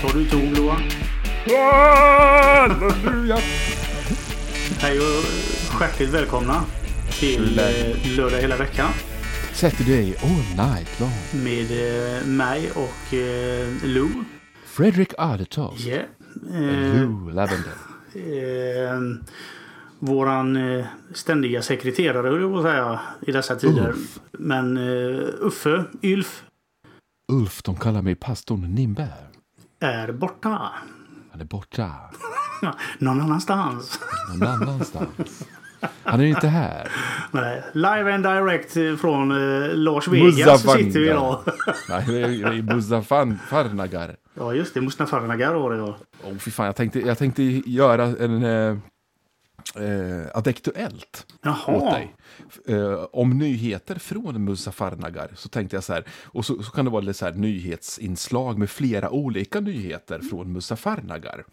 Tar du ton Loa? Halleluja! Hej och hjärtligt välkomna till eh, Lördag hela veckan Saturday all night long. med eh, mig och eh, Lou. Fredrik Adetos. Yeah. Eh, Lou Lavender. eh, våran eh, ständiga sekreterare höll jag på att säga i dessa tider. Ulf. Men eh, Uffe, Ylf, Ulf, de kallar mig pastorn Nimberg. är borta. Han är borta. Någon annanstans. Någon annanstans. Han är inte här. Nej. Live and direct från eh, Lars Vegas Muzaffarnagar. sitter vi idag. Nej, det är i Muzaffarnagar. Ja just det, Mustafar var det ja. Åh, fy fan. Jag tänkte, jag tänkte göra en... Eh, eh, adektuellt åt Jaha. dig. Eh, om nyheter från Muzaffarnagar så tänkte jag så här. Och så, så kan det vara lite så här nyhetsinslag med flera olika nyheter från Muzaffarnagar.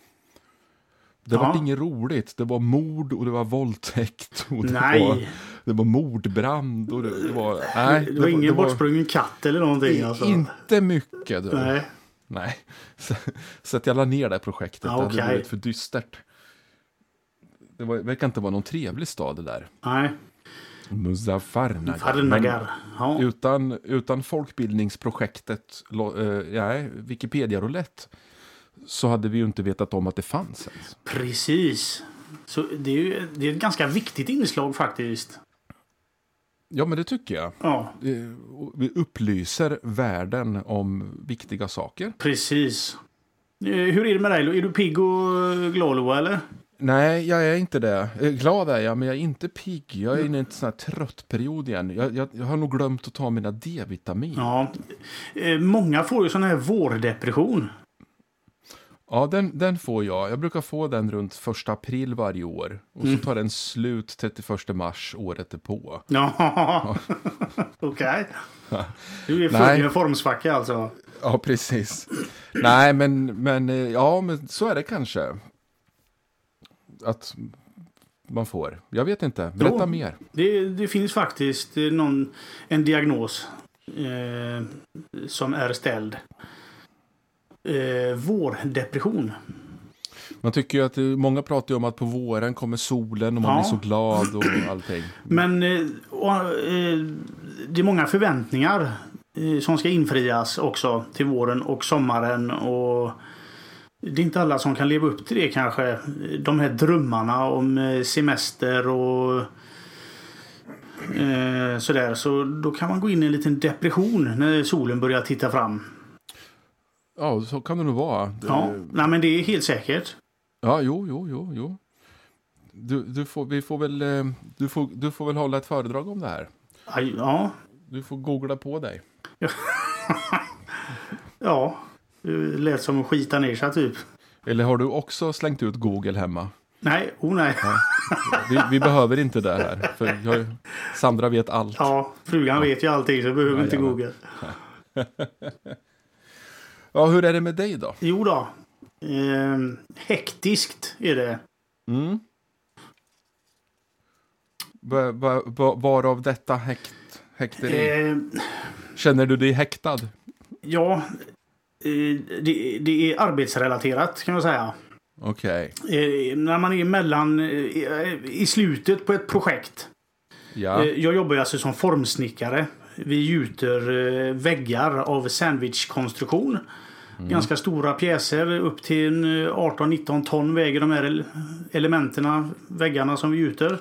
Det Ja. var inget roligt. Det var mord och det var våldtäkt. Och det, Nej. Var, det var mordbrand och det, det var... Nej, Det var ingen det bortsprungen katt eller någonting alltså. Inte mycket. Du. Nej. Nej. Så, så att jag la ner det här projektet. Ja, det hade okej. blivit för dystert. Det var, verkar inte vara någon trevlig stad det där. Nej. Muzaffarnagar. Men- Farnagar. Ja. Utan, utan folkbildningsprojektet, lo- eh, nej, Wikipedia-roulett, så hade vi ju inte vetat om att det fanns ens. Precis. Så det är ju det är ett ganska viktigt inslag faktiskt. Ja, men det tycker jag. Ja, Eh, och Vi upplyser världen om viktiga saker. precis. Eh, Hur är det med dig? Lo? Är du pigg och eh, glad Lo, eller? Nej, jag är inte det. Eh, Glad är jag, men jag är inte pigg. Jag är inne i en sån här trött period igen. Jag, jag, jag har nog glömt att ta mina D-vitamin. Ja, Ja. Eh, Många får ju sån här vårdepression. den, den får jag. Jag brukar få den runt första april varje år. Och så tar den slut 31 mars året därpå. Ja. Okej. Du är full Nej. i en formsvacka alltså. Ja, precis. Nej, men, men, eh, ja, men så är det kanske. Att man får. Jag vet inte. Berätta Jo. mer. Det, det finns faktiskt eh, någon, en diagnos eh, som är ställd. Eh, vårdepression. Man tycker ju att eh, många pratar ju om att på våren kommer solen och man Ja. blir så glad och allting. Men eh, och, eh, det är många förväntningar eh, som ska infrias också till våren och sommaren. Och det är inte alla som kan leva upp till det kanske. De här drömmarna om eh, semester och eh, sådär. Så då kan man gå in i en liten depression när solen börjar titta fram. Ja, så kan det nog vara. Det- Ja, nej men det är helt säkert. ja jo, jo, jo, jo. Du, du, får, vi får väl, eh, du, får, du får väl hålla ett föredrag om det här. Aj, Ja, Du får googla på dig. ja. Det lät som att skita ner sig typ. Eller har du också slängt ut Google hemma? Nej, oh nej. Vi, vi behöver inte det här. För jag, Sandra vet allt. Ja, frugan vet ju allting så jag behöver inte Jajamän. googla. Ja, hur är det med dig då? Jo då. Ehm, hektiskt är det. Mm. Va- va- va- Varav detta häkt, häkteri? Ehm, Känner du dig häktad? ja, eh, det, det är arbetsrelaterat kan jag säga. Okej, Eh, när man är mellan, eh, i slutet på ett projekt. ja. Eh, jag jobbar ju alltså som formsnickare. Vi gjuter eh, väggar av sandwichkonstruktion. Ganska stora pjäser, upp till en, eh, 18-19 ton väger de här ele- elementen, väggarna som vi gjuter.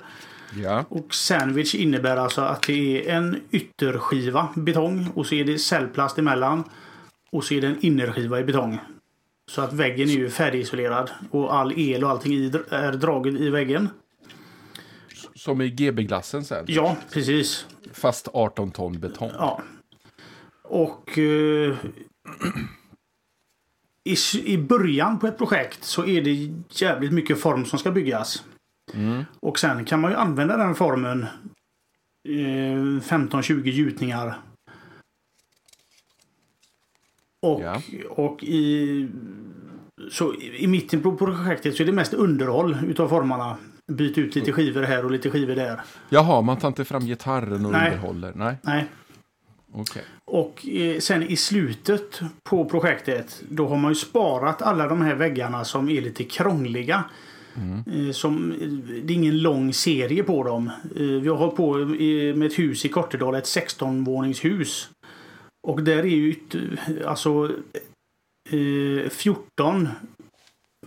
ja. Och sandwich innebär alltså att det är en ytterskiva betong och så är det cellplast emellan. Och så är det en innerskiva i betong. Så att väggen är ju färdigisolerad och all el och allting i, är draget i väggen. Som i GB-glassen sen. Ja, precis. Fast 18 ton betong. Ja. Och eh, i, s- i början på ett projekt så är det jävligt mycket form som ska byggas. Och sen kan man ju använda den formen eh, 15-20 gjutningar. Och, Ja. och i, så i i mitten på projektet så är det mest underhåll utav formarna. Byt ut lite skivor här och lite skivor där. Jaha, man tar inte fram gitarren och Nej. underhåller. Nej. Nej. Okej. Och eh, sen i slutet på projektet då har man ju sparat alla de här väggarna som är lite krångliga. Eh, Som, eh, det är ingen lång serie på dem. Eh, Vi har hållit på eh, med ett hus i Kortedal, ett 16-våningshus. Och där är ju yt- alltså eh, 14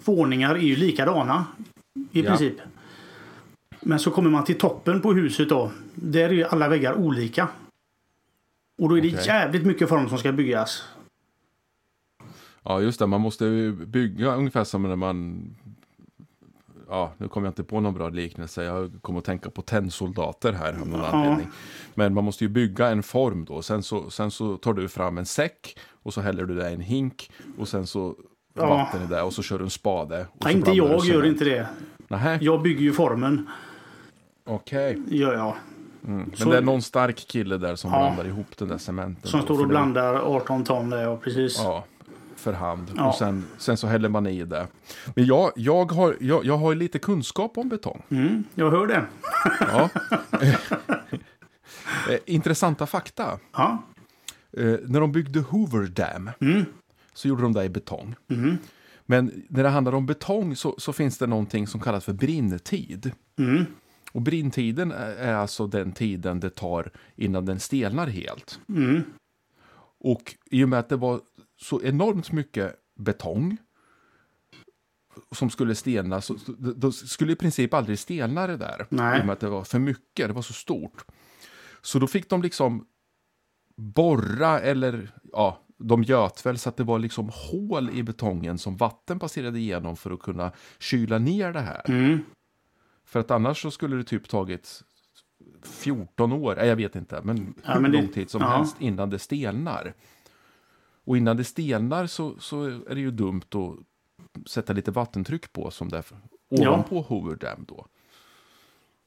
våningar är ju likadana i Ja. princip. Men så kommer man till toppen på huset då. Där är ju alla väggar olika. Och då är det Okej. jävligt mycket form som ska byggas. Ja, just det. Man måste ju bygga ungefär som när man... Ja, nu kommer jag inte på någon bra liknelse. Jag kommer att tänka på tennsoldater här av någon Ja. anledning. Men man måste ju bygga en form då. Sen så, sen så tar du fram en säck och så häller du där i en hink. Och sen så Ja. vatten i det och så kör du en spade. Och Nej, så inte blandar du jag gör cement. inte det. Nähä, Jag bygger ju formen. okej. Gör jag. Men Så- det är någon stark kille där som Ja. blandar ihop den där cementen. Som då, står för och det- blandar 18 ton där, ja precis. Ja, för hand. Ja. Och sen, sen så häller man i det. Men jag, jag, har, jag, jag har ju lite kunskap om betong. Mm, jag hör det. Ja. Eh, Intressanta fakta. Ja, Eh, När de byggde Hoover Dam så gjorde de det i betong. Men när det handlar om betong så, så finns det någonting som kallas för brintid. Och brintiden är är alltså den tiden det tar innan den stelnar helt. Och i och med att det var så enormt mycket betong som skulle stelna, så, så- de skulle i princip aldrig stelna det där. Nej. I och med att det var för mycket, det var så stort. Så då fick de liksom borra eller, ja, de göt väl så att det var liksom hål i betongen som vatten passerade igenom för att kunna kyla ner det här. Mm. För att annars så skulle det typ tagit 14 år, nej jag vet inte, men Ja, hur men det- lång tid som ja. helst innan det stelnar. Och innan det stelnar så, så är det ju dumt att sätta lite vattentryck på som det är för- Ja. ovanpå Hoover Dam då.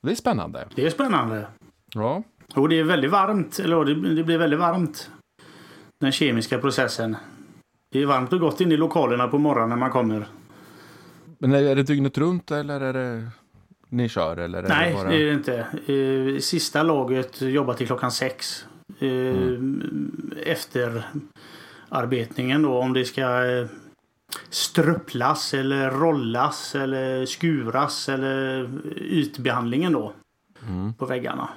Det är spännande. det är spännande. Ja, Och det är väldigt varmt. Eller ja, det, det blir väldigt varmt. Den kemiska processen. Det är varmt och gott inne i lokalerna på morgonen när man kommer. men är är det dygnet runt eller är det ni kör? Eller är Nej, det bara... det är det inte. Eh, Sista laget jobbar till klockan sex. Eh, Mm. Efter arbetningen då om det ska eh, strupplas eller rollas eller skuras eller eh, ytbehandlingen då. Mm. På väggarna.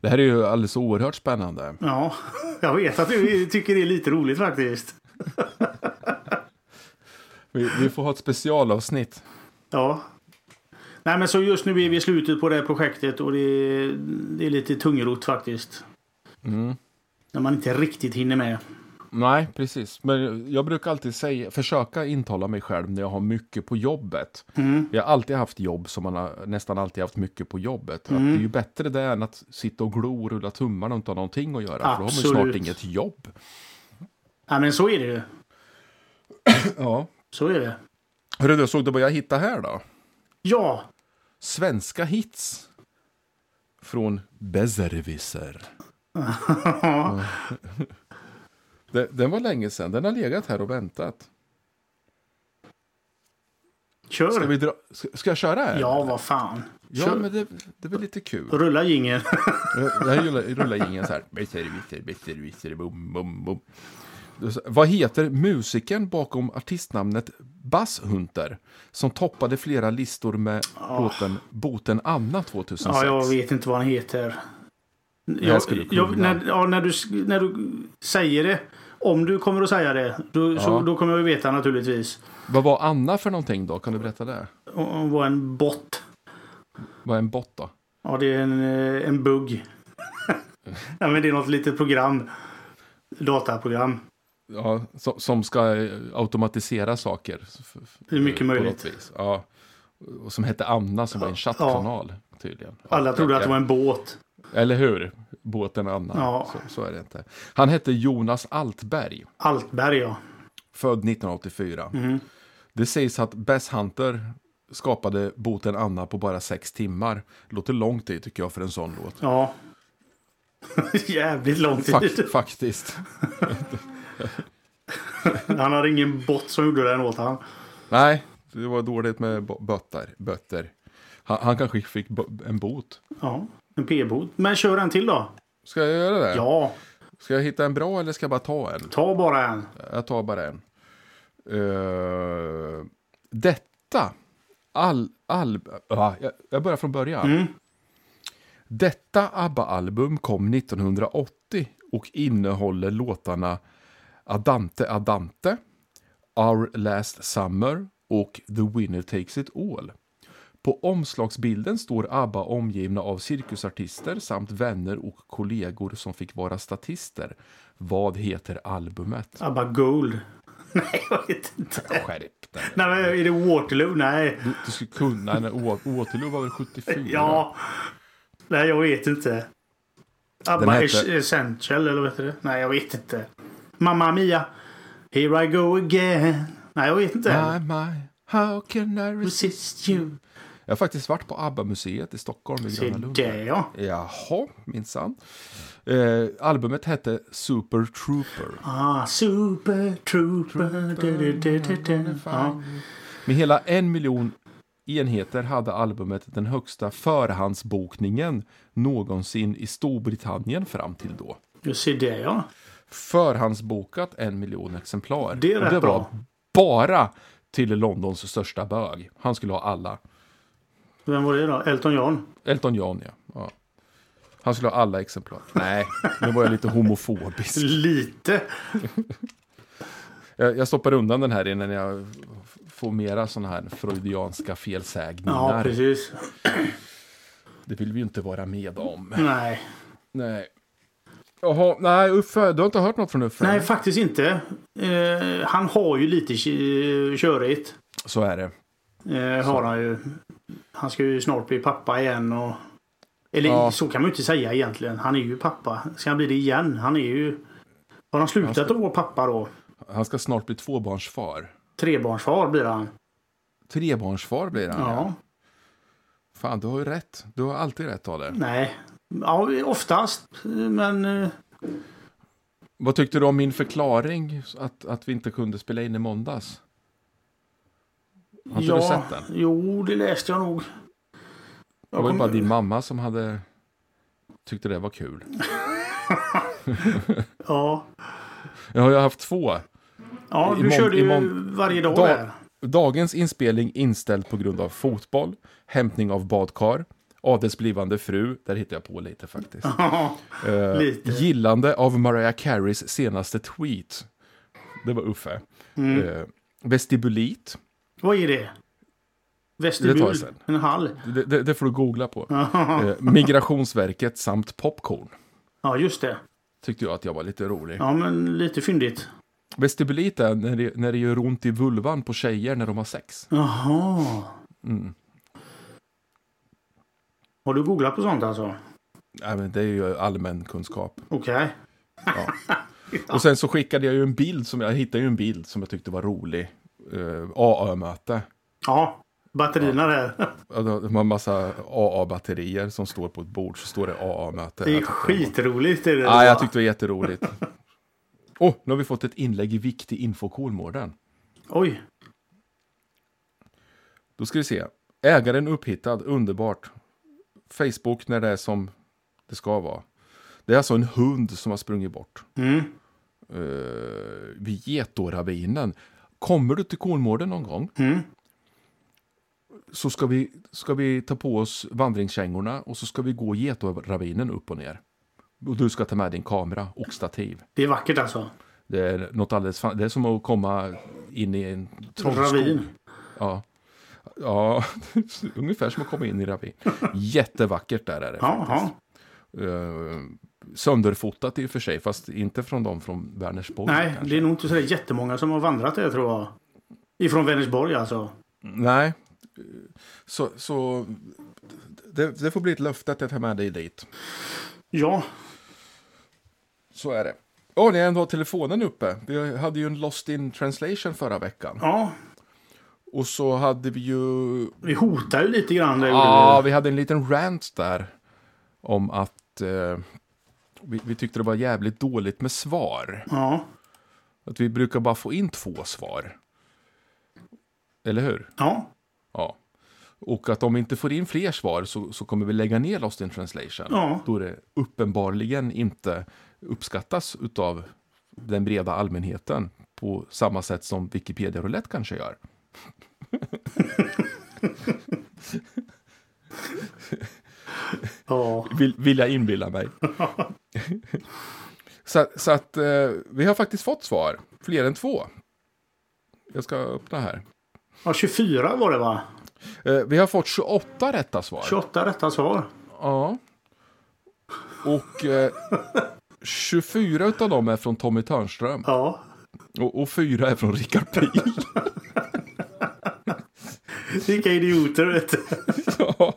Det här är ju alldeles oerhört spännande. Ja, jag vet att du tycker det är lite roligt faktiskt. Vi, vi får ha ett specialavsnitt. Ja. Nej men så just nu är vi i slutet på det här projektet och det är, det är lite tungrot faktiskt. Mm. När man inte riktigt hinner med. Nej, precis. Men jag brukar alltid säga, försöka intala mig själv när jag har mycket på jobbet. Mm. Jag har alltid haft jobb som man har nästan alltid haft mycket på jobbet. Mm. Att det är ju bättre det än att sitta och glo och rulla tummarna och inte ha någonting att göra. För då har man ju Absolut. snart inget jobb. Ja men så är det ju. Ja. Så är det. Hörru du, såg du vad jag hittade här då? Ja, Svenska hits. Från Besserwisser. Ja. Det- Den var länge sedan. Den har legat här och väntat. kör. Ska, vi dra... ska, ska jag köra? Här? Ja, vad fan. Ja, Kör. men det, det var lite kul. Rulla jingeln. Jag jag rullar, jag rullar ingen så här. Bitter, bitter, bitter, bitter, bum, bum, bum. Det är så- Vad heter musikern bakom artistnamnet Basshunter? Som toppade flera listor med låten Boten Anna 2006. Ah. Ja, jag vet inte vad han heter. här Jag, skulle du kunna. jag, när, ja, när, du, sk- när du säger det, om du kommer att säga det, då, så, Ja. då kommer jag ju veta naturligtvis. Vad var Anna för någonting då? Kan du berätta det? Hon hon var en bott. Vad är en bot då? Ja, det är en, eh, en bugg. ja, men det är något litet program. Dataprogram. Ja, som, som ska eh, automatisera saker. f- f- Det är mycket på möjligt. något vis. Ja. Och som hette Anna som var en chattkanal tydligen. Ja, Alla trodde att det var en båt. Eller hur? Båten Anna. Ja. Så, så är det inte. Han hette Jonas Altberg, Altberg, ja. född 1984. Mhm. Det sägs att Bess Hunter skapade Boten Anna på bara sex timmar. Låter lång tid tycker jag för en sån låt. Ja. Jävligt lång tid. Fak- faktiskt. Han hade ingen bott som gjorde den åt han. Nej, det var dåligt med bo- bötter. bötter. Han, han kanske fick bo- en bot. Ja, en p-bod. Men kör en till då. Ska jag göra det? Ja, Ska jag hitta en bra eller ska jag bara ta en? ta bara en. Jag tar bara en. Eh, detta. All, all, ah, jag, jag börjar från början. Mm. Detta ABBA-album kom 1980 och innehåller låtarna Adante Adante, Our Last Summer och The Winner Takes It All. På omslagsbilden står ABBA omgivna av cirkusartister samt vänner och kollegor som fick vara statister. Vad heter albumet? Abba Gold. Nej, jag vet inte. Skärp dig. Nej, men är det Waterloo? Nej. Du, du skulle kunna. nej, Å- Waterloo var väl 74? Ja. Nej, jag vet inte. Den Abba heter- Essential eller vad heter det? Nej, jag vet inte. Mamma Mia. Here I go again. Nej, jag vet inte. My, my, how can I resist? Resist you. Jag har faktiskt varit på ABBA-museet i Stockholm vid Se Gröna Lund. det ja. Jaha, minsann. Eh, albumet hette Super Trooper. Ah, super trooper. Du, du, du, du, du. Ja. Med hela en miljon enheter hade albumet den högsta förhandsbokningen någonsin i Storbritannien fram till då. Du ser det ja. Förhandsbokat en miljon exemplar. Det är Och rätt det var bra. bara till Londons största bög. Han skulle ha alla. Vem var det då? Elton John? Elton John, ja. ja. Han skulle ha alla exemplar. Nej, nu var jag lite homofobisk. Lite. Jag, jag stoppar undan den här innan jag f- får mera sådana här freudianska Ja, felsägningar. precis. det vill vi ju inte vara med om. Nej. Nej. Jaha, nej Uffe, du har inte hört något från Uffe? Nej, faktiskt inte. Eh, han har ju lite k- körigt. Så är det. Eh, har han ju. Han ska ju snart bli pappa igen och... Eller Ja. så kan man ju inte säga egentligen. Han är ju pappa. Ska han bli det igen? Han är ju... Har han slutat att vara pappa då? Han ska snart bli tvåbarnsfar. Trebarnsfar blir han. Trebarnsfar blir han. ja. Fan, du har ju rätt. Du har alltid rätt, Ale. Nej. Ja, oftast. Men eh, Vad tyckte du om min förklaring att, att vi inte kunde spela in i måndags? Har inte ja. du sett den? Jo, det läste jag nog. Det Jag var ju kom, bara din mamma som hade tyckte det var kul. Ja, Jag har ju haft två. ja I du mån- körde i ju mån- varje dag Dag- där. Dagens inspelning inställd på grund av fotboll, hämtning av badkar, Adels blivande fru, där hittar jag på lite faktiskt. Ja, Eh, Ah, lite. Gillande av Mariah Careys senaste tweet. Det var Uffe. Mm. Eh, vestibulit, Vad är det? Det tar jag Vestibul? sen. En hall? det, det, det får du googla på. Eh, Migrationsverket samt popcorn. Ja, just det. Tyckte jag att jag var lite rolig. Ja, men lite fyndigt. Vestibulit är när det, när det gör ont i vulvan på tjejer när de har sex. Jaha. Mm. Har du googlat på sånt alltså? Nej, men det är ju allmän kunskap. Okej. Och sen så skickade jag ju en bild som jag hittade ju en bild som jag tyckte var rolig. Uh, AA-möte. Ja, batterierna där. Ja, då- De har en massa AA-batterier som står på ett bord. Så står det AA-möte. Det är Jag tyckte var- skitroligt. Är det Ja, jag va? tyckte det var jätteroligt. Åh, oh, nu har vi fått ett inlägg i Viktig info Kolmården. Oj. Då ska vi se. Ägaren upphittad, underbart. Facebook när det är som det ska vara. Det är alltså en hund som har sprungit bort. Mm. Uh, vid Getoravinen. Kommer du till Kolmården någon gång Mm. så ska vi, ska vi ta på oss vandringskängorna och så ska vi gå Getoravinen upp och ner. Och du ska ta med din kamera och stativ. Det är vackert alltså. Det är något alldeles fan... Det är som att komma in i en trollskog. Ravin. Ja. ja, ungefär som att komma in i ravin. Jättevackert där är det. Jaha. Eh, sönderfotat i och för sig, fast inte från dem från Vänersborg. Nej, kanske. det är nog inte så där jättemånga som har vandrat där tror jag. Ifrån Vänersborg alltså. Nej. Så, så det, det får bli ett löfte att jag tar med dig dit. Ja, Så är det. Åh, ni har ändå telefonen uppe. Vi hade ju en Lost in translation förra veckan. ja. Och så hade vi ju... Vi hotar ju lite grann där. Ja, gjorde vi hade en liten rant där. Om att eh, vi, vi tyckte det var jävligt dåligt med svar. vi. Ja. Att vi brukar bara få in två svar. Eller hur? ja. Ja. Och att om vi inte får in fler svar så, så kommer vi lägga ner Lost in translation. Ja. Då det uppenbarligen inte uppskattas utav den breda allmänheten på samma sätt som Wikipedia Roulette kanske gör. Ja. Vill, vill jag inbilla mig. så, så att eh, vi har faktiskt fått svar. Fler än två. Jag ska öppna här. ja, 24 var det va? Eh, vi har fått 28 rätta svar. 28 rätta svar. Ja. Och eh, 24 av dem är från Tommy Törnström. Ja. Och, och fyra är från Rickard Pihl. Vilka idioter vet du. Ja,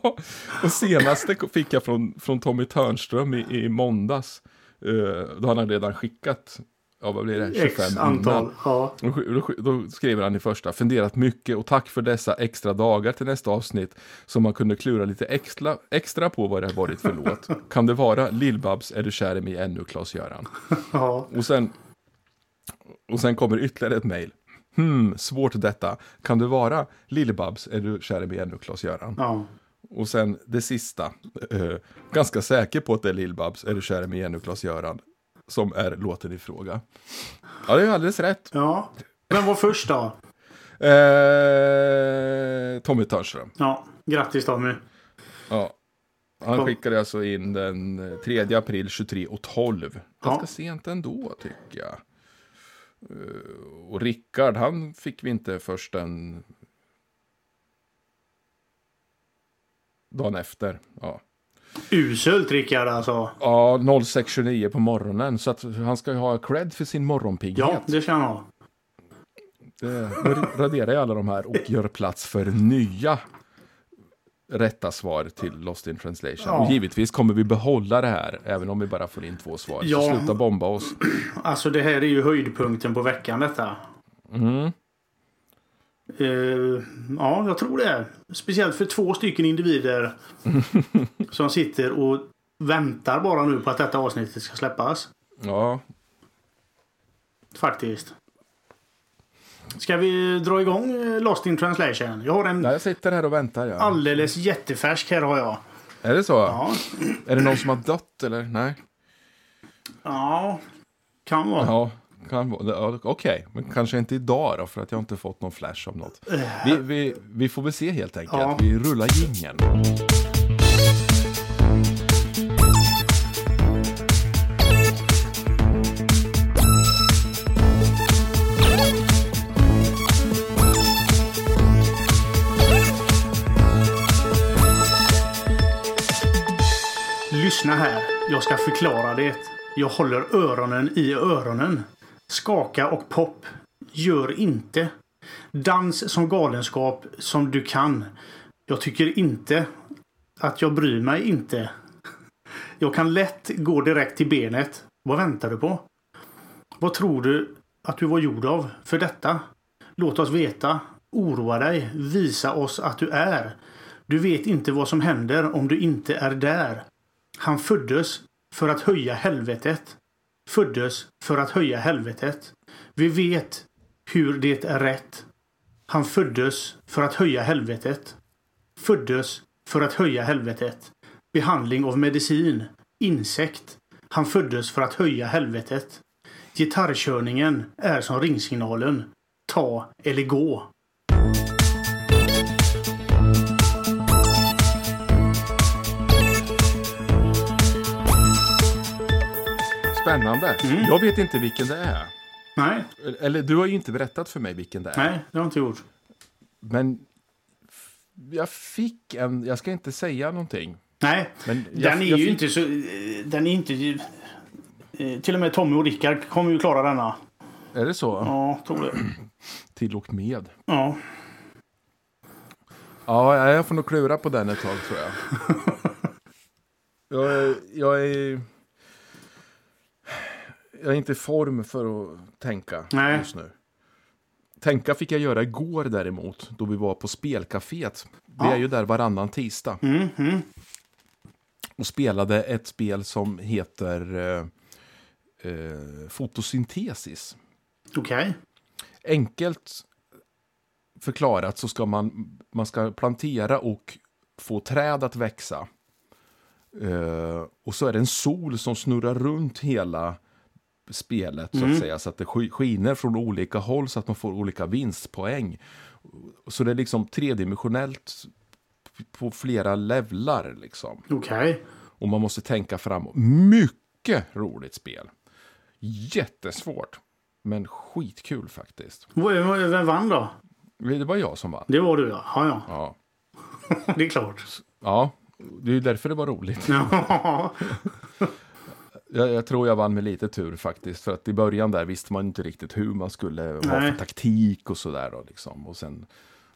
och senaste fick jag från, från Tommy Törnström i, i måndags. Eh, då han hade redan skickat, ja vad blir det, 25 X innan. antal. Ja. Då, sk- då, sk- då skriver han i första, funderat mycket och tack för dessa extra dagar till nästa avsnitt. Så man kunde klura lite extra, extra på vad det har varit för låt. Kan det vara Lill-Babs, är du kär i mig ännu, Claes-Göran? ja. Och sen, och sen kommer ytterligare ett mejl. Hmm, svårt detta. Kan det vara Lill-Babs, är du kär i mig ännu, Claes-Göran? ja. Och sen det sista. Eh, ganska säker på att det är Lill-Babs, är du kär i mig igen nu Klas-Göran? Som är låten i fråga. Ja, det är ju alldeles rätt. Ja. Vem var först då? Eh, Tommy Törnström. Ja. Grattis Tommy. Ja. Han skickade alltså in den 3 april 23 och 12. Ganska Ja. sent ändå tycker jag. Eh, Och Rickard, han fick vi inte först en... Dagen efter. Ja. Uselt Rickard alltså. Ja, 06.29 på morgonen. Så att han ska ju ha cred för sin Ja, morgonpigghet. det ska han ha. Eh, Då raderar jag alla de här och gör plats för nya rätta svar till Lost in translation. Ja. Och givetvis kommer vi behålla det här, även om vi bara får in två svar. Ja. Så sluta bomba oss. Alltså det här är ju höjdpunkten på veckan detta. Mm. Eh, ja, jag tror det. Speciellt för två stycken individer som sitter och väntar bara nu på att detta avsnittet ska släppas. Ja. Faktiskt. Ska vi dra igång eh, Lost in translation? Jag har en Nej, jag sitter här och väntar. Ja. alldeles jättefärsk här har jag. Är det så? Ja, Är det någon som har dött eller? Nej. ja kan vara. Ja, kan vara. Ja, Okej, men kanske inte idag då, för att jag inte fått någon flash av något. Vi, vi, vi får väl se helt Eh. enkelt. Ja. Vi rullar jingeln. Lyssna här. Jag ska förklara det. Jag håller öronen i öronen. Skaka och pop. Gör inte. Dans som galenskap som du kan. Jag tycker inte att jag bryr mig inte. Jag kan lätt gå direkt till benet. Vad väntar du på? Vad tror du att du var gjord av för detta? Låt oss veta. Oroa dig. Visa oss att du är. Du vet inte vad som händer om du inte är där. Han föddes för att höja helvetet. Föddes för att höja helvetet. Vi vet hur det är rätt. Han föddes för att höja helvetet. Föddes för att höja helvetet. Behandling av medicin. Insekt. Han föddes för att höja helvetet. Gitarrkörningen är som ringsignalen. Ta eller gå. Spännande. Mm. Jag vet inte vilken det är. Nej, Eller du har ju inte berättat för mig vilken det är. nej, det har jag inte gjort. Men f- jag fick en... Jag ska inte säga någonting. Nej, Men jag, Den är jag ju fick- inte så... eh, Den är inte... eh, Till och med Tommy och Rickard kommer ju klara denna. Är det så? Ja, tror det. Till och med. Ja. Ja, jag får nog klura på den ett tag tror jag. Jag är, jag är, jag är inte i form för att tänka Nej. just nu. Tänka fick jag göra igår däremot, då vi var på spelcaféet. Vi är ju där varannan tisdag. Och spelade ett spel som heter eh, eh, Fotosyntesis Okej. enkelt förklarat så ska man, man ska plantera och få träd att växa. Eh, och så är det en sol som snurrar runt hela spelet så att säga. Så att det sk- skiner från olika håll så att man får olika vinstpoäng. Så det är liksom tredimensionellt på flera levlar liksom. Okej. Och man måste tänka framåt. Mycket roligt spel. Jättesvårt. Men skitkul faktiskt. V- v- Vem vann då? Det var jag som vann. Det var du ja. Ja, Ja. ja. Det är klart. Ja, det är ju därför det var roligt. Ja. Jag, jag tror jag vann med lite tur faktiskt. För att i början där visste man inte riktigt hur man skulle ha Nej. för taktik och sådär. då, Liksom. Och sen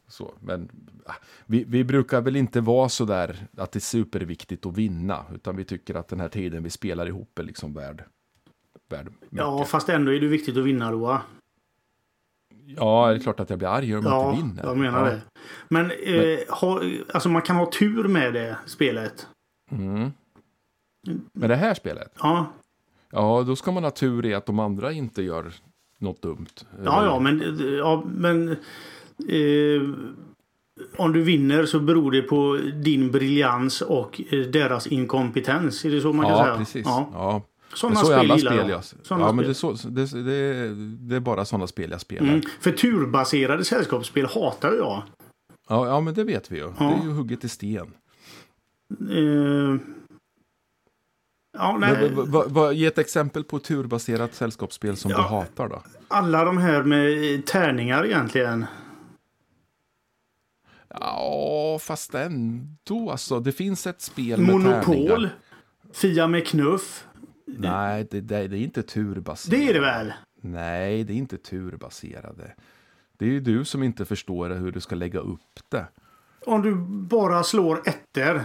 så. Men ah, vi, vi brukar väl inte vara så där att det är superviktigt att vinna. Utan vi tycker att den här tiden vi spelar ihop är liksom värd. värd ja, mycket. fast ändå är det viktigt att vinna då. va? ja, det är klart att jag blir arg om jag Ja, inte vinner. jag menar ja. det. Men, eh, ha, alltså man kan ha tur med det spelet. Mm. Men det här spelet? Ja, Ja, då ska man ha tur i att de andra inte gör något dumt. ja, ja men, ja, men eh, om du vinner så beror det på din briljans och eh, deras inkompetens. Är det så man kan ja, säga? precis. Ja. Ja, Sådana Det är så i alla gillar jag. spel jag... Sådana ja, men det, är spel. så, det, det, det är bara sådana spel jag spelar. Mm, för turbaserade sällskapsspel hatar jag. Ja, ja, men det vet vi ju. Det är ju hugget i sten. Eh, ja, nej. Men, va, va, va, ge ett exempel på turbaserat sällskapsspel som Ja. du hatar då. Alla de här med tärningar egentligen. Ja, fast ändå alltså. Det finns ett spel med Monopol. tärningar. Fia med knuff. Nej, det, det, det är inte turbaserat. Det är det väl? Nej, det är inte turbaserade. Det är ju du som inte förstår hur du ska lägga upp det. Om du bara slår ettor.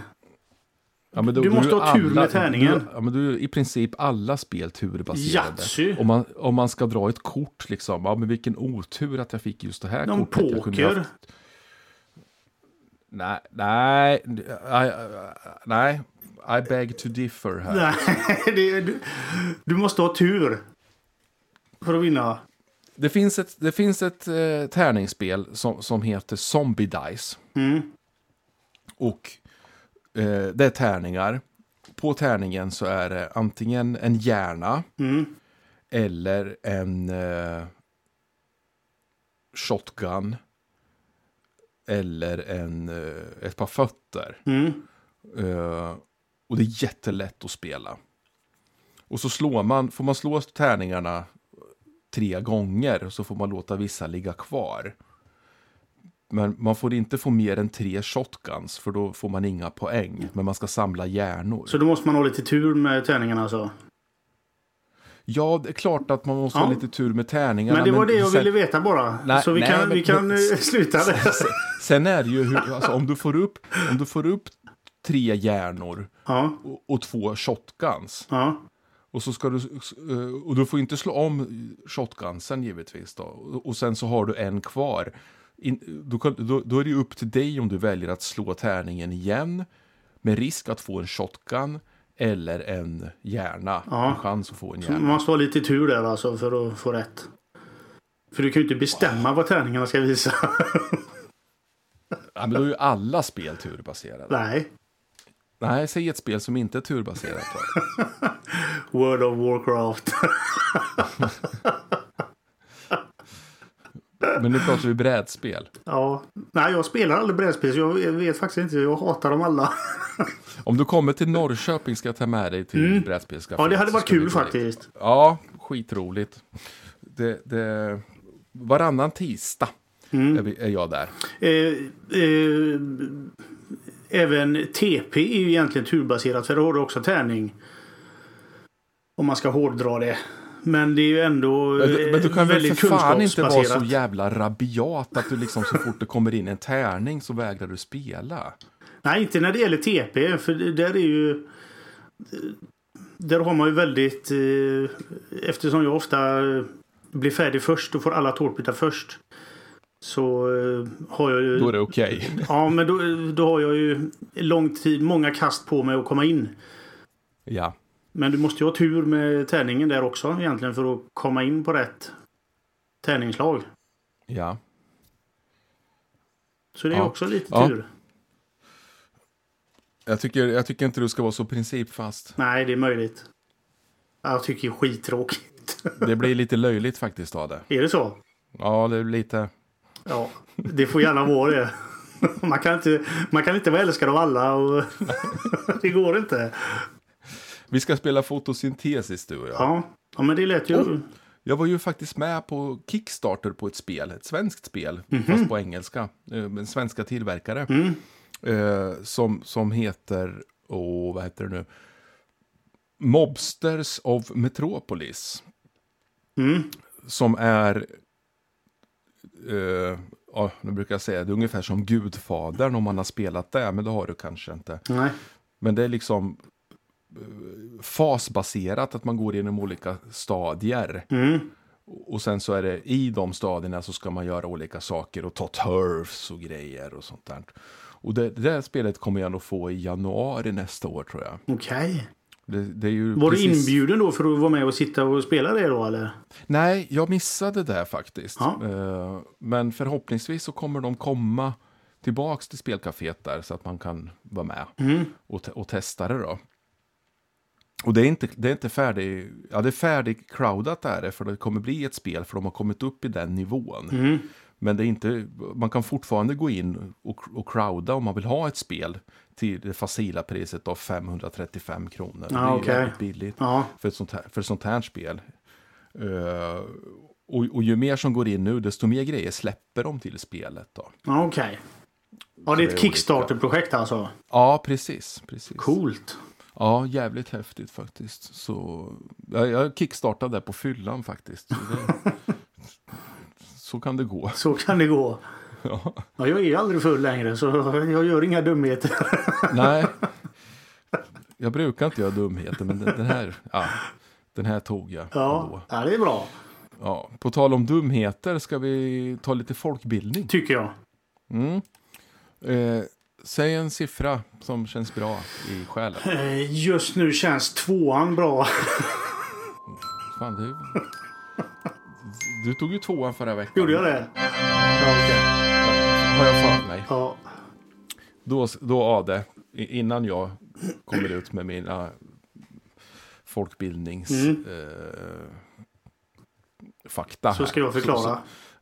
Ja, men då- Du då måste är ha tur alla- med tärningen. Du, ja, men du är i princip alla spel turbaserade. Yatzy. Om man, om man ska dra ett kort, liksom. Ja, men vilken otur att jag fick just det här Någon kortet. Jag kunde poker. haft- Nej, nej, nej, nej. I beg to differ här. Nej, det, är- du, du måste ha tur. För att vinna. Det finns ett, det finns ett eh, tärningsspel som, som heter Zombie Dice. Mm. Och eh, det är tärningar. På tärningen så är det antingen en hjärna eller en eh, shotgun eller en, eh, ett par fötter. Eh, och det är jättelätt att spela. Och så slår man, får man slå tärningarna eh, tre gånger och så får man låta vissa ligga kvar. Men man får inte få mer än tre shotguns för då får man inga poäng. Men man ska samla hjärnor. Så då måste man ha lite tur med tärningarna alltså. Ja, det är klart att man måste ha Ja. lite tur med tärningarna. Men det var det jag sen- ville veta bara. Nej, så vi nej, kan, men- vi kan eh, sluta där. Sen är det ju hur, alltså, om, du får upp, om du får upp tre hjärnor Ja, och, och två shotguns. ja. Och, så ska du, eh, och du får inte slå om shotgunsen givetvis. Då. Och- Och sen så har du en kvar. In, då, kan, då, då är det ju upp till dig om du väljer att slå tärningen igen. Med risk att få en shotgun eller en hjärna. En chans att få en Man hjärna. måste ha lite tur där alltså för att få rätt. För du kan ju inte bestämma vad tärningarna ska visa. Ja, men då är ju alla spel turbaserade. Nej. Nej, säg ett spel som inte är turbaserat. då. World of Warcraft. Men nu pratar vi brädspel. Ja. Nej, jag spelar aldrig brädspel så jag vet faktiskt inte. Jag hatar dem alla. Om du kommer till Norrköping ska jag ta med dig till brädspelscaféet. Mm. Ja, det hade så varit ska vi kul gå dit. faktiskt. Ja, skitroligt. Det, det, varannan tisdag Mm. är, vi, är jag där. Eh, eh, även TP är ju egentligen turbaserat för då har du också tärning. Om man ska hårdra det. Men det är ju ändå eh, Men du- men du kan väl väldigt för fan inte vara så kunskapsbaserat. jävla rabiat att du liksom så fort det kommer in en tärning så vägrar du spela. Nej, inte när det gäller TP. För det- där är ju... Där har man ju väldigt... eh, Eftersom jag ofta eh, blir färdig först och får alla tårtbitar först. Så eh, har jag ju... Då är det okej. Ja, men då, då har jag ju lång tid, många kast på mig att komma in. Ja. Men du måste ju ha tur med tärningen där också egentligen för att komma in på rätt tärningslag. Ja. Så det är Ja. också lite Ja. tur. Jag tycker, jag tycker inte du ska vara så principfast. Nej, det är möjligt. Jag tycker det är skittråkigt. Det blir lite löjligt faktiskt av det. är det så? Ja, det är lite... Ja, det får gärna vara det. Man kan inte, man kan inte vara älskad av alla. Och det går inte. Vi ska spela fotosyntesis du och jag. Ja, ja men det lät ju... Jag var ju faktiskt med på Kickstarter på ett spel, ett svenskt spel, Mhm. fast på engelska. eh, En svenska tillverkare. Mm. Eh, som, som heter, åh, vad heter det nu? Mobsters of Metropolis. Mm. Som är, eh, ja, nu brukar jag säga, det är ungefär som Gudfadern om man har spelat det, men det har du kanske inte. Nej. Men det är liksom eh, fasbaserat, att man går genom olika stadier. Mm. Och sen så är det i de stadierna så ska man göra olika saker och ta turfs och grejer och sånt där. Och det, det där spelet kommer jag nog få i januari nästa år tror jag. Okej. Det, det är ju Var du precis- inbjuden då för att vara med och sitta och spela det då eller? Nej, jag missade det faktiskt. Ja. Eh, Men förhoppningsvis så kommer de komma tillbaks till spelcaféet där så att man kan vara med Mm. och, te- och testa det då. Och det är inte, det är inte färdig, ja det är färdigcrowdat är det för det kommer bli ett spel för de har kommit upp i den nivån. Mm. Men det är inte, man kan fortfarande gå in och, och crowda om man vill ha ett spel till det facila priset av 535 kronor. det är ju okej. jävligt billigt Ja. för ett sånt här, för ett sånt här spel. Eh, och, och ju mer som går in nu, desto mer grejer släpper de till spelet. Då. Ja, Okej. Ja, det är det är ett Kickstarter-projekt alltså. Ja, precis. precis. Coolt. Ja, jävligt häftigt faktiskt. Så, jag, jag kickstartade där på fyllan faktiskt. Så, det, så kan det gå. Så kan det gå. Ja. Ja, jag är ju aldrig full längre så jag gör inga dumheter. Nej, jag brukar inte göra dumheter, men den, den, här, ja, den här tog jag. Ja, ändå. ja det är bra. Ja. På tal om dumheter ska vi ta lite folkbildning. Tycker jag. Mm. Eh, säg en siffra som känns bra i själen. Eh, Just nu känns tvåan bra. Fan, du... du tog ju tvåan förra veckan. Gjorde jag det? Ja, okej. Har jag för mig. ja. Då, då Ade, i- innan jag kommer ut med mina folkbildnings... Mm. Eh, fakta så ska jag här. Så, förklara. så,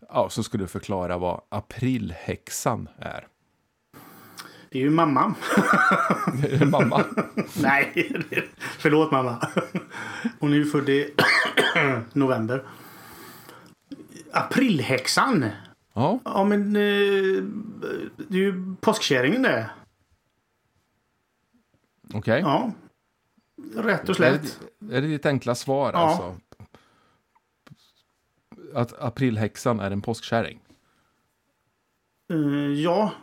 ja, så ska du förklara vad aprilhäxan är. Det är ju mamma. Är det Mamma. Nej, det- förlåt mamma. Hon är ju född i november. Aprilhäxan. Ja, Ja men eh, det är ju påskkärringen det. okej. Ja. Rätt och Är slätt. det, är det ditt enkla svar Ja. alltså? Att aprilhäxan är en påskkärring? Eh, ja.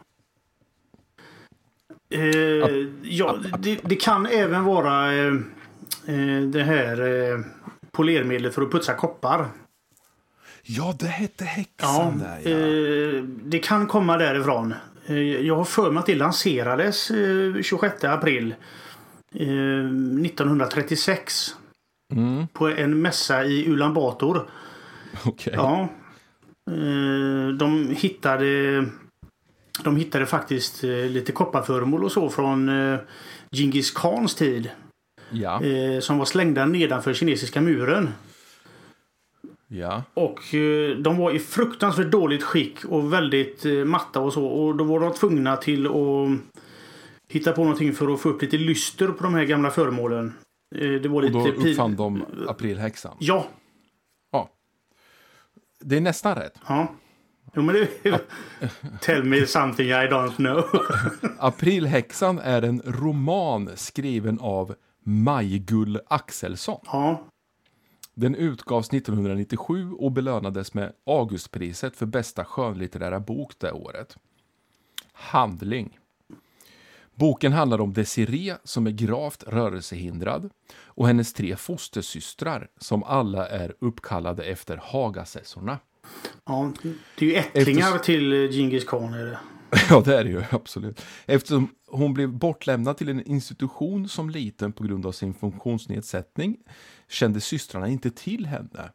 Eh, ja det, det kan även vara eh, eh, det här eh, polermedlet för att putsa koppar. Ja, det hette Ja, häxan där ja. eh, det kan komma därifrån. Eh, jag har för mig att det lanserades eh, 26 april eh, 1936 Mm, på en mässa i Ulan Bator. okej. Ja. Eh, De hittade, de hittade faktiskt eh, lite kopparföremål och så från eh, Djingis Khans tid. Ja, eh, Som var slängda nedanför kinesiska muren. ja. Och eh, de var i fruktansvärt dåligt skick och väldigt eh, matta och så. Och då var de tvungna till att hitta på någonting för att få upp lite lyster på de här gamla föremålen. Eh, Det var Och lite då pin- uppfann de aprilhäxan. Ja, Ja. Det är nästan rätt. ja. Jo men det... Tell me something I don't know. Aprilhäxan är en roman skriven av Majgull Axelsson. ja. Den utgavs 1997 och belönades med Augustpriset för bästa skönlitterära bok det året. Handling. Boken handlar om Desiree som är gravt rörelsehindrad och hennes tre fostersystrar som alla är uppkallade efter Hagasessorna. Ja, det är ju ättlingar Eftersom- till eh, Djingis khan. Är det. Ja, det är det ju, absolut. Eftersom hon blev bortlämnad till en institution som liten på grund av sin funktionsnedsättning kände systrarna inte till henne.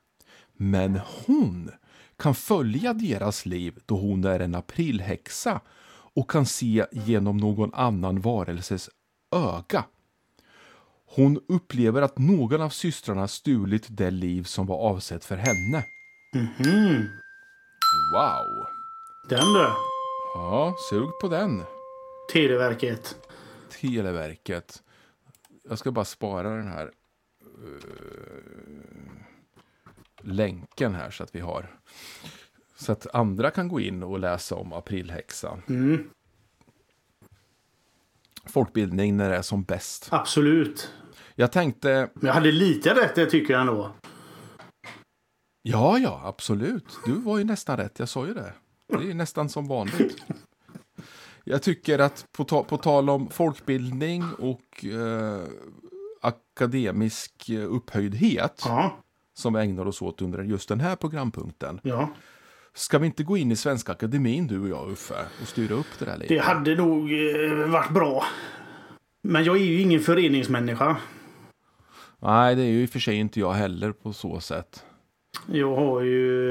Men hon kan följa deras liv då hon är en aprilhäxa och kan se genom någon annan varelses öga. Hon upplever att någon av systrarna stulit det liv som var avsett för henne. Wow! Den du. Ja, sug på den, Televerket. Televerket. Jag ska bara spara den här eh, länken här så att vi har. Så att andra kan gå in och läsa om aprilhäxan. Folkbildning när det är som bäst. Absolut. Jag tänkte, Men jag hade lite rätt det tycker jag ändå. ja, ja, absolut. Du var ju nästan rätt, jag sa ju det. Det är ju nästan som vanligt. Jag tycker att på, ta, på tal om folkbildning och eh, akademisk eh, upphöjdhet Ja. som vi ägnar oss åt under just den här programpunkten. ja. Ska vi inte gå in i Svenska Akademin du och jag Uffe och styra upp det där lite? Det hade nog eh, varit bra. Men jag är ju ingen föreningsmänniska. Nej, det är ju i och för sig inte jag heller på så sätt. Jag har ju...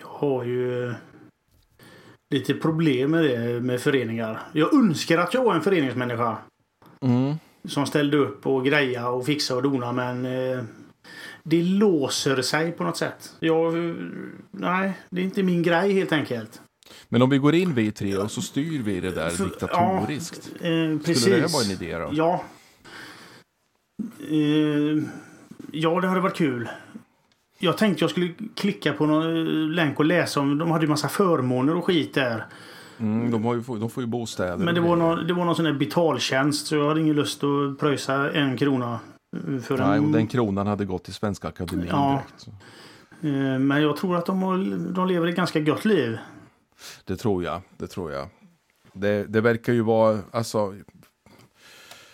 Jag har ju... eh, Lite problem med det med föreningar. Jag önskar att jag var en föreningsmänniska. Mm. Som ställde upp och greja och fixa och dona men... Eh, det låser sig på något sätt. Jag... eh, Nej, det är inte min grej helt enkelt. Men om vi går in vi tre och så styr vi det där För- diktatoriskt. Ja, eh, precis. Skulle det här vara en idé då? Ja. Eh, ja, det hade varit kul. Jag tänkte jag skulle klicka på någon eh, länk och läsa om... De hade ju massa förmåner och skit där. Mm, de, har ju, få- de får ju bostäder. Men det var någon, det var någon sån där betaltjänst så jag hade ingen lust att pröjsa en krona. eh, För Nej, och en, den kronan hade gått till Svenska Akademin Ja. direkt. så. eh, Men jag tror att de, har, de lever ett ganska gött liv. Det tror jag, det tror jag. Det, det verkar ju vara, alltså,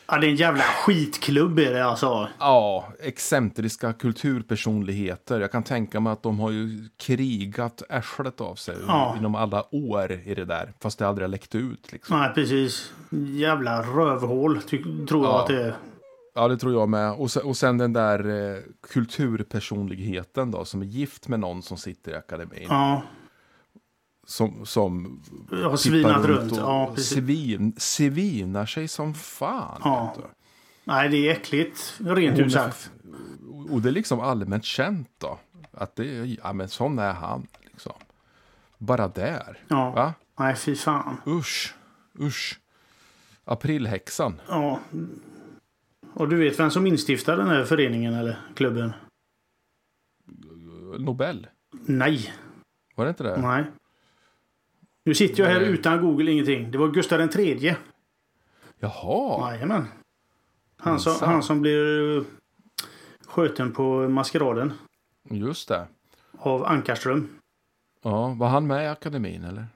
Ja, det är en jävla skitklubb är det alltså. Ja, excentriska kulturpersonligheter. Jag kan tänka mig att de har ju krigat ärslet av sig Ja. inom alla år i det där. Fast det aldrig har läckt ut. Liksom. Nej, precis. Jävla rövhål ty- tror jag Ja. att det är. Ja, det tror jag med. Och sen, och sen den där eh, kulturpersonligheten då, som är gift med någon som sitter i akademin. Ja, Som, som jag har tippar svinat runt. och Ja, precis. svin, svinar sig som fan. Ja. vet du. Nej, det är äckligt. Rent Hon ut är sagt. Och- Och det är liksom allmänt känt då. Att det är, ja men sån är han. Liksom. Bara där. Ja. Va? Nej, fy fan. Usch, usch. Aprilhäxan. Ja. Och du vet vem som instiftade den här föreningen eller klubben? Nobel. Nej. Var det inte det? Nej. Nu sitter jag här Nej. utan Google ingenting. Det var Gustav den tredje. Jaha. Jajamän. Han som, Minsann. han som blir eh, sköten på maskeraden Just det. av Ankarström. Ja, var han med i akademin eller?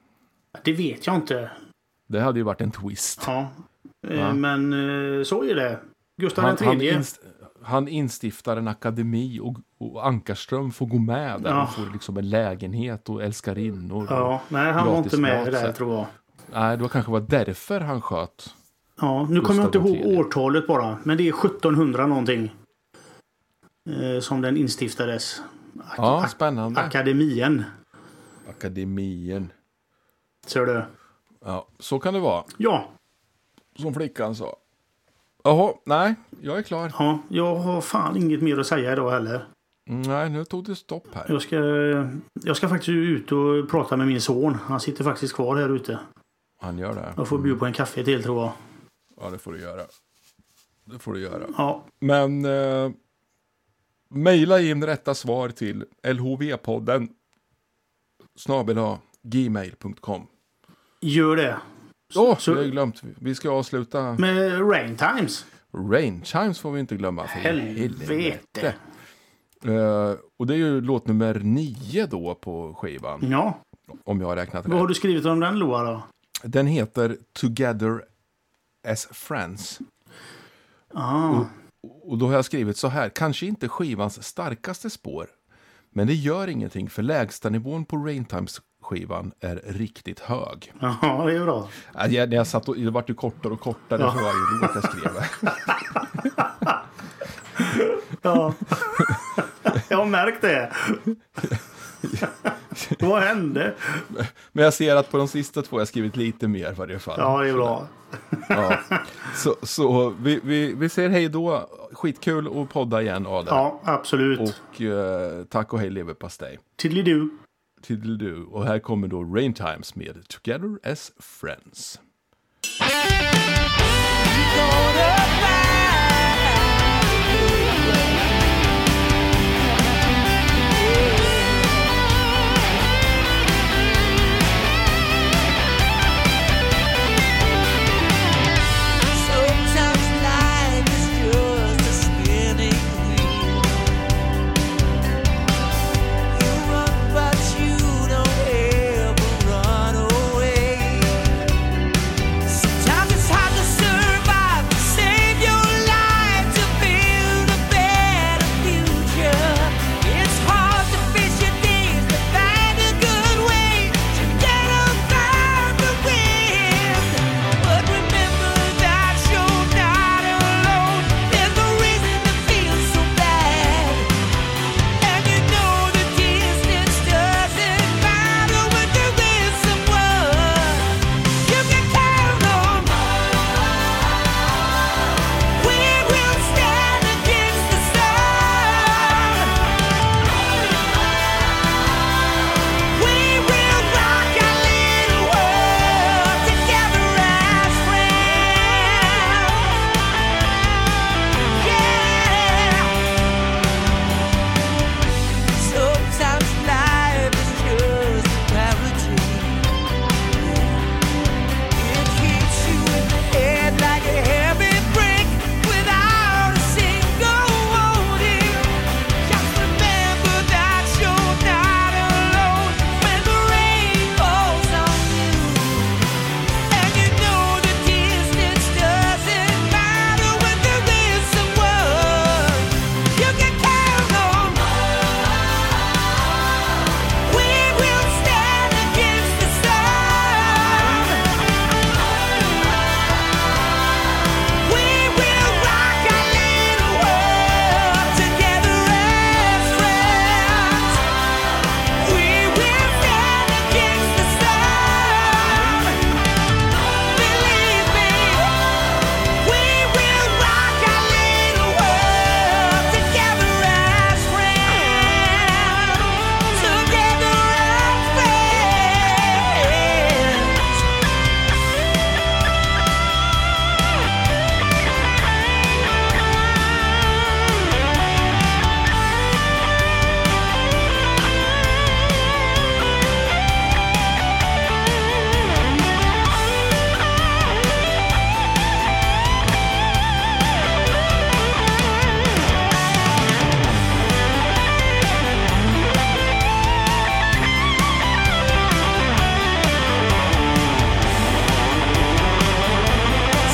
Det vet jag inte. Det hade ju varit en twist. Ja. Eh, Va? Men eh, så är det. Gustav Han, den han, tredje. inst- han instiftar en akademi och, och Ankarström får gå med där. Ja. Han får liksom en lägenhet och älskarinnor. Ja, nej han var Gratis inte med mat, i det så. där tror jag. Nej, det var kanske var därför han sköt. Ja, nu kommer jag inte Gustav ihåg III. årtalet bara. Men det är 1700 någonting. Eh, som den instiftades. Ak- Ja, ak- spännande. akademien. Akademien. Ser du? Ja, så kan det vara. Ja, Som flickan sa. Jaha, nej, jag är klar. ja, jag har fan inget mer att säga idag heller. Mm, Nej, nu tog det stopp här. Jag ska, jag ska faktiskt ut och prata med min son. Han sitter faktiskt kvar här ute. Han gör det. Jag får bjuda på en kaffe till tror jag. Ja, det får du göra. Det får du göra. Ja, Men eh, mejla in rätta svar till lhvpodden snabel gmail.com. gör det. Åh, så- vi har ju glömt. Vi ska avsluta. Med Rain Times. Rain Chimes får vi inte glömma. för Helvete. Eh, och det är ju låt nummer nio då på skivan. Ja, Om jag har räknat vad har rätt. du skrivit om den Loa då? Den heter Together as Friends. Ah, Och då har jag skrivit så här, kanske inte skivans starkaste spår, men det gör ingenting för lägstanivån på Raintimes skivan är riktigt hög. ja, det är bra. Äh, Jag, när jag satt och, det vart ju kortare och kortare för varje låt jag skrev. Ja. Jag har märkt det. Vad hände? Men jag ser att på de sista två har jag skrivit lite mer i varje fall. Ja, det är bra. Ja. Så, så vi, vi, vi säger hej då. Skitkul att podda igen, Adam. Ja, absolut. Och eh, tack och hej leverpastej. Tiddly-doo. Tiddelidu. Och här kommer då Rain Times med Together as Friends. Sometimes life is just a spinning wheel. You run, but you don't ever run away. Sometimes it's hard to survive, save your life to build a better future. It's hard to face your days, but find a good way to get on the wind. But remember that you're not alone. There's no reason to feel so bad. And you know the distance doesn't matter when there is someone you can count on. We will stand against the sun. We will rock our little world together as friends. Yeah. Sometimes life is just a parody. It hits you in the head like a heavy brick without a single warning. Just remember that you're not alone when the rain falls on you. And you know the distance doesn't matter when there is someone you can count on. We will stand against the sun. We will rock our little world together as friends. We will stand against the sun. Believe me, we will rock our little world together as friends. Together as friends.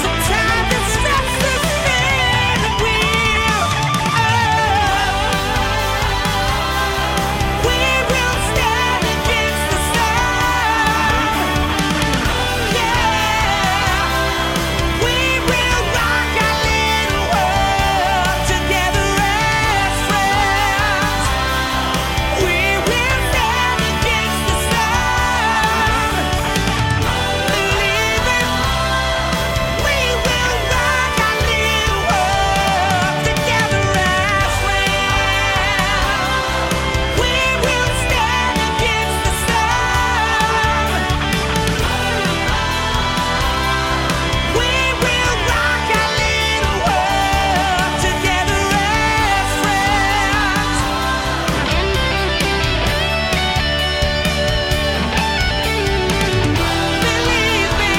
Sometimes it's not the man we We will stand against the sun. Yeah, we will rock our little world together as friends. We will stand against the sun. We will rock our little world together as friends. We will stand against the sun. We will rock our little world together as friends. Believe me.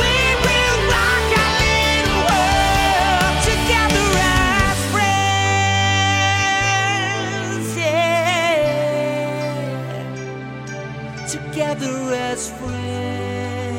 We will rock our little world together as friends. Yeah, together as friends.